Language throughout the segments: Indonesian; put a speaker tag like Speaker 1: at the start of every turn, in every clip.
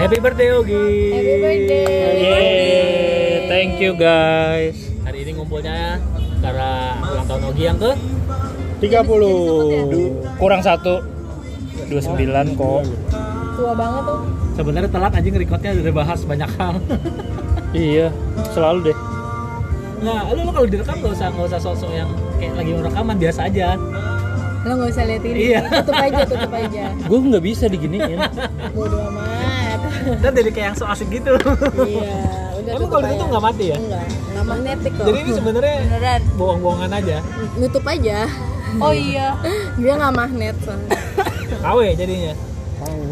Speaker 1: Happy birthday Yogi.
Speaker 2: Happy birthday.
Speaker 3: Yeay, thank you guys.
Speaker 1: Hari ini ngumpulnya karena ulang tahun Ogi yang ke
Speaker 3: 30 kurang satu 29 kok.
Speaker 2: Tua banget tuh.
Speaker 1: sebenarnya telat anjing recordnya udah bahas banyak hal.
Speaker 3: Iya, selalu deh.
Speaker 1: Nah, lu, lu kalau direkam gak usah nggak usah sosok yang kayak lagi rekaman biasa aja.
Speaker 2: Lo nggak usah liatin.
Speaker 1: Iya.
Speaker 2: Tutup aja, tutup aja.
Speaker 3: Gue nggak bisa diginiin.
Speaker 2: Bodo amat.
Speaker 1: Dan jadi kayak yang so asik gitu.
Speaker 2: iya. Udah
Speaker 1: Emang kalau
Speaker 2: aja.
Speaker 1: ditutup nggak mati ya?
Speaker 2: Enggak. Nggak magnetik kok.
Speaker 1: Jadi ini sebenarnya
Speaker 2: beneran
Speaker 1: bohong-bohongan aja.
Speaker 2: nutup aja.
Speaker 4: Oh iya.
Speaker 2: Dia nggak magnet soalnya.
Speaker 1: Kawe jadinya.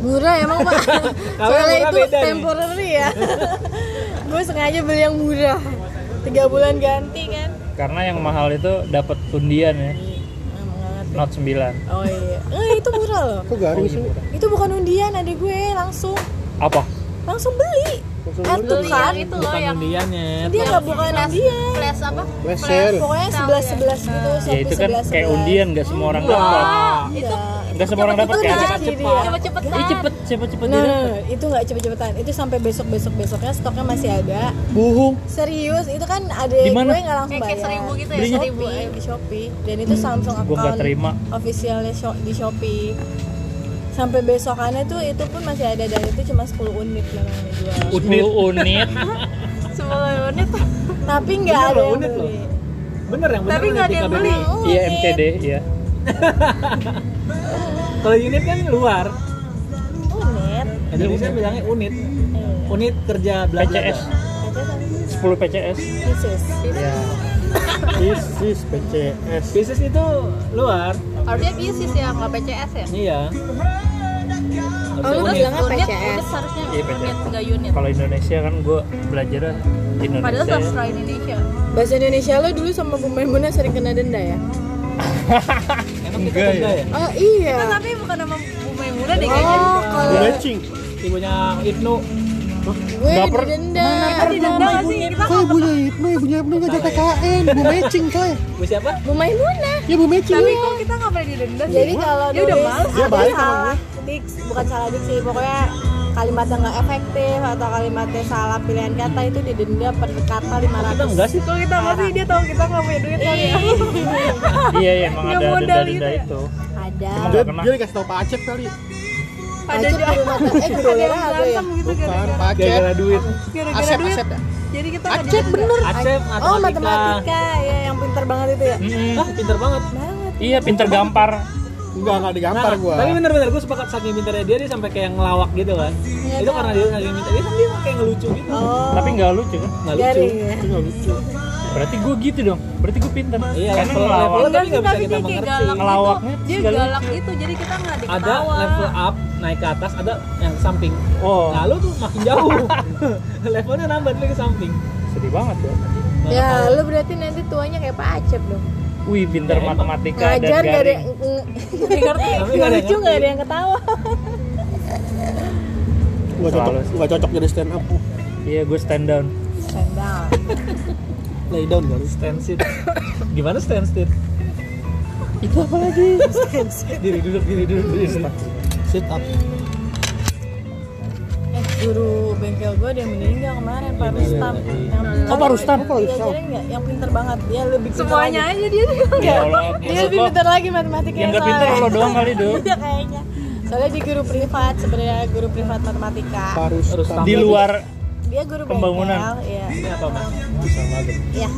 Speaker 2: Murah emang pak.
Speaker 1: Kalau
Speaker 2: Soalnya
Speaker 1: murah
Speaker 2: itu
Speaker 1: beda nih.
Speaker 2: temporary ya. Gue sengaja beli yang murah. Tiga bulan ganti kan.
Speaker 3: Karena yang mahal itu dapat undian ya,
Speaker 2: Emang nggak ngerti.
Speaker 3: not 9.
Speaker 2: Oh iya. Eh, itu murah loh.
Speaker 5: Kok garing sih?
Speaker 2: Itu bukan undian adik gue langsung
Speaker 3: Apa?
Speaker 2: langsung beli. Kartu
Speaker 4: Beli
Speaker 2: kan.
Speaker 4: yang Iya, itu loh
Speaker 1: Bukan ya.
Speaker 4: yang
Speaker 1: undiannya.
Speaker 2: Dia nggak bukan undian.
Speaker 4: flash apa?
Speaker 5: Flash sale.
Speaker 2: pokoknya
Speaker 4: Tahu
Speaker 2: sebelas
Speaker 4: ya?
Speaker 2: sebelas gitu Iya.
Speaker 3: Ya itu kan kayak undian, nggak semua orang dapat.
Speaker 4: Wah,
Speaker 2: itu
Speaker 3: Nggak semua orang ya? dapat
Speaker 2: Nah, itu
Speaker 3: kayak
Speaker 2: udah
Speaker 3: cepet.
Speaker 2: cepat
Speaker 4: cepet-cepetan.
Speaker 3: Ih cepet, cepet cepet
Speaker 2: nah,
Speaker 3: dia
Speaker 2: nah,
Speaker 3: dapet.
Speaker 2: nah, itu nggak cepet-cepetan itu sampai besok besok besoknya stoknya masih ada
Speaker 3: Bohong.
Speaker 2: serius itu kan ada
Speaker 3: Di mana?
Speaker 2: gue nggak langsung
Speaker 4: Kayak-
Speaker 2: bayar
Speaker 4: kayak seribu gitu ya,
Speaker 2: Belinya?
Speaker 4: seribu.
Speaker 2: Shopee, di Shopee dan itu Samsung
Speaker 3: Hmm, Gua nggak
Speaker 2: account
Speaker 3: terima.
Speaker 2: officialnya sho- di Shopee sampai besokannya tuh itu pun masih ada dan itu cuma 10 unit memang yang dijual
Speaker 3: 10 unit.
Speaker 4: Sepuluh menit.
Speaker 2: Nah, tapi nggak
Speaker 1: Bener loh,
Speaker 2: ada yang
Speaker 1: unit loh.
Speaker 2: beli
Speaker 1: Bener yang bener.
Speaker 4: Tapi nggak ada yang
Speaker 1: nanti
Speaker 4: beli. Oh,
Speaker 1: KBBI.
Speaker 3: Iya MCD ya.
Speaker 1: Kalau unit kan luar.
Speaker 2: unit
Speaker 1: Indonesia bilangnya unit.
Speaker 4: Hmm.
Speaker 2: Eh,
Speaker 1: Unit kerja bla bla bla.
Speaker 3: PCS.
Speaker 2: aja sama
Speaker 3: 10 PCS.
Speaker 2: pieces
Speaker 3: Ya.
Speaker 5: Isis PCS.
Speaker 1: Bisnis itu luar.
Speaker 4: Harusnya bisnis ya, nggak PCS ya?
Speaker 1: Iya.
Speaker 2: Oh, lu
Speaker 1: Unit.
Speaker 2: bilangnya
Speaker 4: Unit,
Speaker 2: PCS.
Speaker 4: unit harusnya
Speaker 3: Iya,
Speaker 4: unit,
Speaker 3: PCS.
Speaker 4: nggak unit.
Speaker 3: Kalau Indonesia kan gue belajar Indonesia.
Speaker 4: Padahal
Speaker 3: ya.
Speaker 1: Iya,
Speaker 4: sastra Indonesia. Nah,
Speaker 2: Bahasa Indonesia lo dulu sama Bu Maimunah sering kena denda ya?
Speaker 1: Emang kita
Speaker 3: Enggak
Speaker 1: benda ya?
Speaker 3: ya?
Speaker 2: Oh iya.
Speaker 4: Tapi bukan nama Bumi Muda deh kayaknya.
Speaker 2: Oh kalau
Speaker 5: Matching.
Speaker 1: Ibunya Ibnu.
Speaker 2: gue
Speaker 3: Nggak per-
Speaker 2: didenda.
Speaker 4: Denda nggak sih? Kita
Speaker 5: Kok ibunya Ibnu, ibunya Ibnu Iya, nggak ada KKN, bu matching coy.
Speaker 1: Bu siapa?
Speaker 2: Bu Maimunah.
Speaker 5: Ya bu matching.
Speaker 4: tapi
Speaker 5: ya.
Speaker 4: kok kita nggak pernah didenda sih?
Speaker 2: Jadi kalau
Speaker 4: Dia udah
Speaker 2: nulis
Speaker 4: males.
Speaker 5: Dia
Speaker 2: ada
Speaker 5: baik sama
Speaker 2: salah dik, bukan salah dik sih, pokoknya kalimatnya nggak efektif atau kalimatnya salah pilihan kata itu didenda per kata 500
Speaker 1: Kita enggak sih.
Speaker 4: Kalau kita nggak sih dia tahu kita nggak punya
Speaker 2: Eh,
Speaker 4: duit kali ya.
Speaker 3: Iya, iya emang
Speaker 4: Nggak
Speaker 3: ada
Speaker 4: modal
Speaker 3: denda-denda
Speaker 4: gitu ya.
Speaker 3: itu.
Speaker 2: Ada.
Speaker 3: Cuma
Speaker 5: Dia,
Speaker 3: nggak kena.
Speaker 5: dia dikasih tau Pak Acep kali.
Speaker 2: Ada
Speaker 4: Ada aja.
Speaker 2: guru mata eh guru
Speaker 4: Ada yang
Speaker 2: daerah ada ya.
Speaker 4: berantem gitu
Speaker 5: Bukan
Speaker 4: gara-gara
Speaker 5: Pak Acep.
Speaker 1: Gara-gara duit.
Speaker 4: gara-gara
Speaker 5: Asep,
Speaker 4: duit.
Speaker 5: Asep ya.
Speaker 4: Jadi kita nggak
Speaker 5: Acep
Speaker 4: didenda.
Speaker 5: bener.
Speaker 1: Acep
Speaker 2: Oh
Speaker 1: matematika.
Speaker 2: matematika ya yang pintar banget itu ya.
Speaker 3: Mm-mm.
Speaker 1: Ah, pinter banget.
Speaker 2: Banget.
Speaker 3: Iya, pinter gampar.
Speaker 5: Enggak, enggak digampar
Speaker 1: Nah,
Speaker 5: gua.
Speaker 1: Tapi bener-bener gue sepakat saking pinternya dia dia sampai kayak ngelawak gitu kan. itu karena dia saking pinter. Dia kan dia kayak ngelucu gitu.
Speaker 2: Iya, Oh.
Speaker 3: Tapi nggak lucu kan?
Speaker 1: Nggak lucu.
Speaker 2: Garing ya.
Speaker 3: Berarti gue gitu dong. Berarti gue pinter.
Speaker 1: Iya, level
Speaker 3: Karena
Speaker 1: level tapi
Speaker 4: Enggak
Speaker 3: ngelawak.
Speaker 4: sih,
Speaker 1: nggak bisa kita
Speaker 4: tapi dia kayak
Speaker 1: mengerti.
Speaker 4: galak
Speaker 3: Ngelawaknya
Speaker 4: gitu. Dia
Speaker 3: nggak lucu.
Speaker 4: galak gitu, jadi kita nggak diketawa.
Speaker 1: Ada level up naik ke atas, ada yang ke samping.
Speaker 3: Oh,
Speaker 1: Lalu tuh makin jauh. Levelnya nambah dia ke samping.
Speaker 3: sedih banget ya.
Speaker 1: Nah,
Speaker 2: Ya
Speaker 1: kalau-
Speaker 2: lu berarti nanti tuanya kayak Pak Acep dong.
Speaker 3: Wih, pinter
Speaker 1: Ya, emang.
Speaker 3: matematika
Speaker 2: Ngajar
Speaker 3: dan
Speaker 2: gak ada
Speaker 3: garing.
Speaker 2: yang ngerti.
Speaker 1: Tapi nggak ada yang
Speaker 2: Lucu
Speaker 1: ngerti.
Speaker 2: gak ada yang ketawa.
Speaker 5: Gua cocok,
Speaker 3: Selalu sih.
Speaker 5: gua cocok jadi stand up.
Speaker 3: Iya, gue stand down.
Speaker 2: Sandal.
Speaker 1: lay down kali stand sit. Gimana stand sit?
Speaker 3: Itu apa lagi?
Speaker 1: Diri duduk, diri duduk, diri duduk. Sit up.
Speaker 2: Eh, guru bengkel gue ada yang meninggal kemarin Pak Rustam. Yang
Speaker 3: Oh, Pak Rustam.
Speaker 2: Iya, jadi nggak yang pinter banget. Dia lebih pinter
Speaker 4: Semuanya
Speaker 2: lagi. Iya.
Speaker 4: aja dia
Speaker 3: Ya Allah,
Speaker 2: Dia
Speaker 3: maksud
Speaker 2: lebih
Speaker 3: lo
Speaker 2: pinter lagi matematika
Speaker 3: yang gak pinter lo doang kali, Dok.
Speaker 2: Iya kayaknya. Soalnya di guru privat sebenarnya guru privat matematika.
Speaker 5: Harus
Speaker 1: Terus
Speaker 3: Di luar
Speaker 2: Dia guru
Speaker 3: Pembangunan.
Speaker 2: bengkel, iya.
Speaker 1: Ini apa, Mas?
Speaker 2: Iya.
Speaker 4: Iya.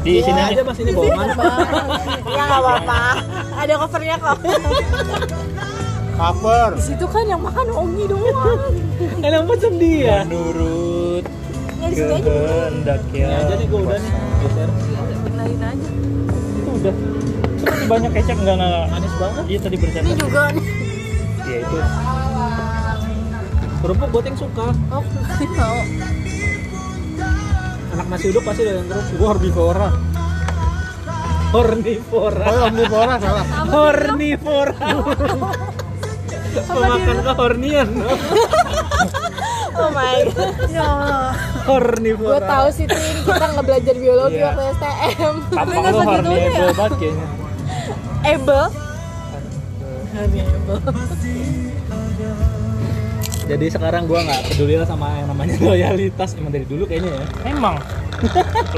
Speaker 3: di sini aja.
Speaker 1: aja Mas ini bohongan.
Speaker 2: Ya nggak apa-apa. Ada covernya kok.
Speaker 5: cover.
Speaker 2: Eh, Di situ kan yang makan Ongi doang.
Speaker 1: Enak banget Kan dia.
Speaker 3: Menurut
Speaker 2: Ya di situ aja.
Speaker 3: kehendak
Speaker 1: Ini
Speaker 3: ya.
Speaker 1: aja nih gue udah nih. Geser.
Speaker 4: dengerin aja.
Speaker 3: Itu udah. Cuma tuh banyak kecap enggak enggak.
Speaker 1: Manis banget.
Speaker 3: Iya tadi
Speaker 2: Ini
Speaker 3: bercanda.
Speaker 2: juga nih.
Speaker 3: Iya itu.
Speaker 1: Kerupuk goteng suka.
Speaker 2: Oh, mau.
Speaker 1: Anak masih hidup pasti udah yang kerupuk.
Speaker 5: Gua herbivora.
Speaker 1: Hornivora.
Speaker 5: Oh, omnivora salah.
Speaker 1: Hornivora. Pemakan kehornian.
Speaker 2: Oh my god. gue
Speaker 1: Karnivora.
Speaker 2: tahu sih Tin, kita nggak belajar biologi
Speaker 3: Iya.
Speaker 2: waktu STM
Speaker 3: Tampang
Speaker 4: Nggak
Speaker 3: lu
Speaker 4: segitunya.
Speaker 2: ya.
Speaker 3: Carnival banget kayaknya.
Speaker 2: gitu, able
Speaker 1: Jadi sekarang gua nggak peduli lah sama yang namanya loyalitas emang dari dulu kayaknya ya.
Speaker 3: Emang.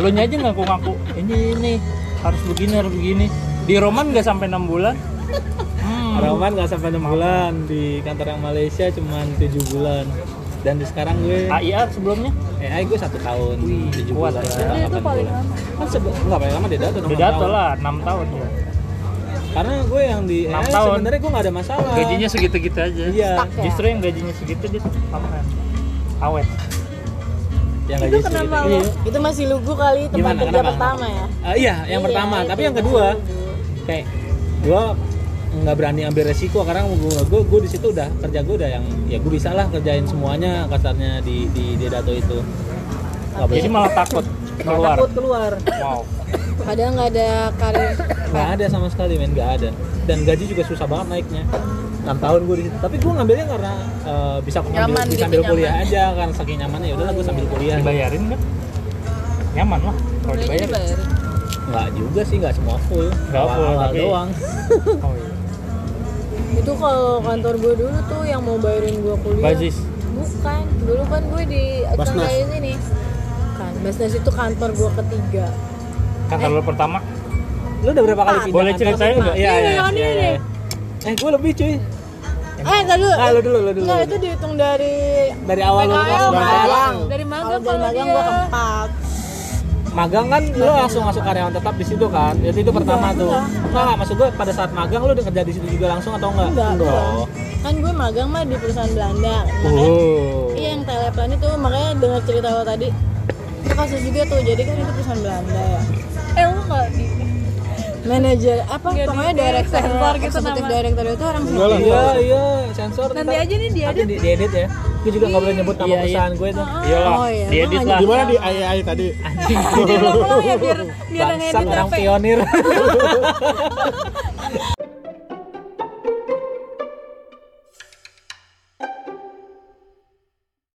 Speaker 3: Lu nya aja ngaku-ngaku ini ini harus begini harus begini. Di Roman nggak sampai 6 bulan. Hmm.
Speaker 1: Roman nggak sampai 6 bulan di kantor yang Malaysia cuman 7 bulan. Dan di sekarang gue
Speaker 3: AIA sebelumnya
Speaker 1: AI gue 1 tahun,
Speaker 3: Wih,
Speaker 1: 7
Speaker 3: kuat
Speaker 1: bulan.
Speaker 3: ya.
Speaker 1: setengah
Speaker 4: Dia itu
Speaker 1: delapan
Speaker 4: paling
Speaker 1: bulan.
Speaker 4: lama.
Speaker 1: Kan sebe- nggak paling lama Dedato enam
Speaker 3: udah dato
Speaker 1: tahun.
Speaker 3: lah 6 tahun ya.
Speaker 1: Karena gue yang di
Speaker 3: Enam
Speaker 1: AI
Speaker 3: tahun.
Speaker 1: sebenarnya gue nggak ada masalah.
Speaker 3: Gajinya segitu-gitu aja.
Speaker 1: Iya.
Speaker 2: Stuck ya?
Speaker 3: Justru yang gajinya segitu dia pameran. Awet.
Speaker 1: Yang
Speaker 4: Itu
Speaker 1: gaji
Speaker 4: kenapa
Speaker 1: segitu.
Speaker 4: lo?
Speaker 1: Iya.
Speaker 2: itu masih lugu kali tempat
Speaker 1: Gimana,
Speaker 2: kerja
Speaker 1: kenapa?
Speaker 2: pertama ya
Speaker 1: Eh, iya, yang
Speaker 2: Iya,
Speaker 1: pertama.
Speaker 2: itu
Speaker 1: Tapi yang
Speaker 2: masih
Speaker 1: kedua,
Speaker 2: lugu.
Speaker 1: kayak gue nggak berani ambil resiko karena gue gue, gue di situ udah kerja gue udah yang ya gue bisa lah kerjain semuanya kasarnya di di di dato itu nggak
Speaker 3: Jadi
Speaker 1: boleh
Speaker 3: malah takut keluar.
Speaker 1: takut keluar
Speaker 3: Wow.
Speaker 2: padahal nggak ada karir
Speaker 1: nggak ada sama sekali men nggak ada dan gaji juga susah banget naiknya 6 tahun gue di situ tapi gue ngambilnya karena eh, bisa ngambil,
Speaker 4: Nyaman
Speaker 1: bisa
Speaker 4: gitu,
Speaker 1: ambil kuliah
Speaker 4: nyaman.
Speaker 1: aja kan saking nyamannya ya udahlah gue sambil kuliah
Speaker 3: Dibayarin kan? Nyaman lah kalau
Speaker 4: Kayaknya
Speaker 3: dibayar.
Speaker 4: dibayarin.
Speaker 1: nggak juga sih nggak semua full
Speaker 3: Nggak full,
Speaker 1: Awal-awal
Speaker 3: tapi-
Speaker 1: doang
Speaker 3: Oh iya.
Speaker 2: itu kalau kantor gue dulu tuh yang mau bayarin gue kuliah
Speaker 3: Basis.
Speaker 2: bukan dulu kan gue di
Speaker 5: Basnas.
Speaker 2: Cangkai sini kan Basnas itu kantor gue ketiga
Speaker 1: Eh.
Speaker 3: Kantor lu Kan pertama
Speaker 1: lu udah berapa kali
Speaker 2: Empat.
Speaker 1: pindah
Speaker 3: boleh
Speaker 1: kantor?
Speaker 3: ceritain nggak?
Speaker 1: Iya, iya,
Speaker 2: Ini, ini,
Speaker 1: iya,
Speaker 2: ini.
Speaker 1: iya. Eh, gue lebih cuy.
Speaker 2: eh ntar dulu
Speaker 1: Ah, lu dulu, lu dulu.
Speaker 2: Nggak, itu dihitung dari
Speaker 1: Dari awal lu
Speaker 2: PKL
Speaker 1: masuk
Speaker 2: magang
Speaker 1: magang.
Speaker 4: Dari magang
Speaker 2: kalau dari
Speaker 4: kalau
Speaker 2: magang
Speaker 4: dia.
Speaker 2: gue keempat
Speaker 1: Magang kan lu langsung masuk karyawan tetap di situ kan. Jadi itu pertama tuh. Enggak, enggak maksud gue pada saat magang lu udah kerja di situ juga langsung atau enggak?
Speaker 2: enggak
Speaker 1: Oh.
Speaker 2: kan gue magang mah di perusahaan Belanda makanya
Speaker 1: Oh.
Speaker 2: Iya yang teleplan itu makanya dengar cerita lo tadi itu kasus juga tuh jadi kan itu perusahaan Belanda ya
Speaker 4: Eh lu nggak di
Speaker 2: manajer apa
Speaker 4: Nggak
Speaker 2: pokoknya
Speaker 4: di-
Speaker 2: director
Speaker 4: sensor gitu
Speaker 2: eksekutif
Speaker 4: nama.
Speaker 2: director itu orang sini
Speaker 1: Iya, iya, sensor.
Speaker 4: Nanti aja Ah, nih dia
Speaker 1: Nanti di edit ya. Gue juga enggak boleh nyebut nama
Speaker 3: Iya, iya.
Speaker 1: perusahaan gue tuh.
Speaker 3: Iyalah,
Speaker 1: 哎
Speaker 2: Oh iya,
Speaker 3: diedit
Speaker 2: emang
Speaker 3: lah.
Speaker 2: aja.
Speaker 5: Gimana di AI tadi?
Speaker 4: Jadi ulang-ulang ya biar biar
Speaker 1: Bangsat
Speaker 4: ngedit
Speaker 1: orang
Speaker 4: apa
Speaker 1: pionir.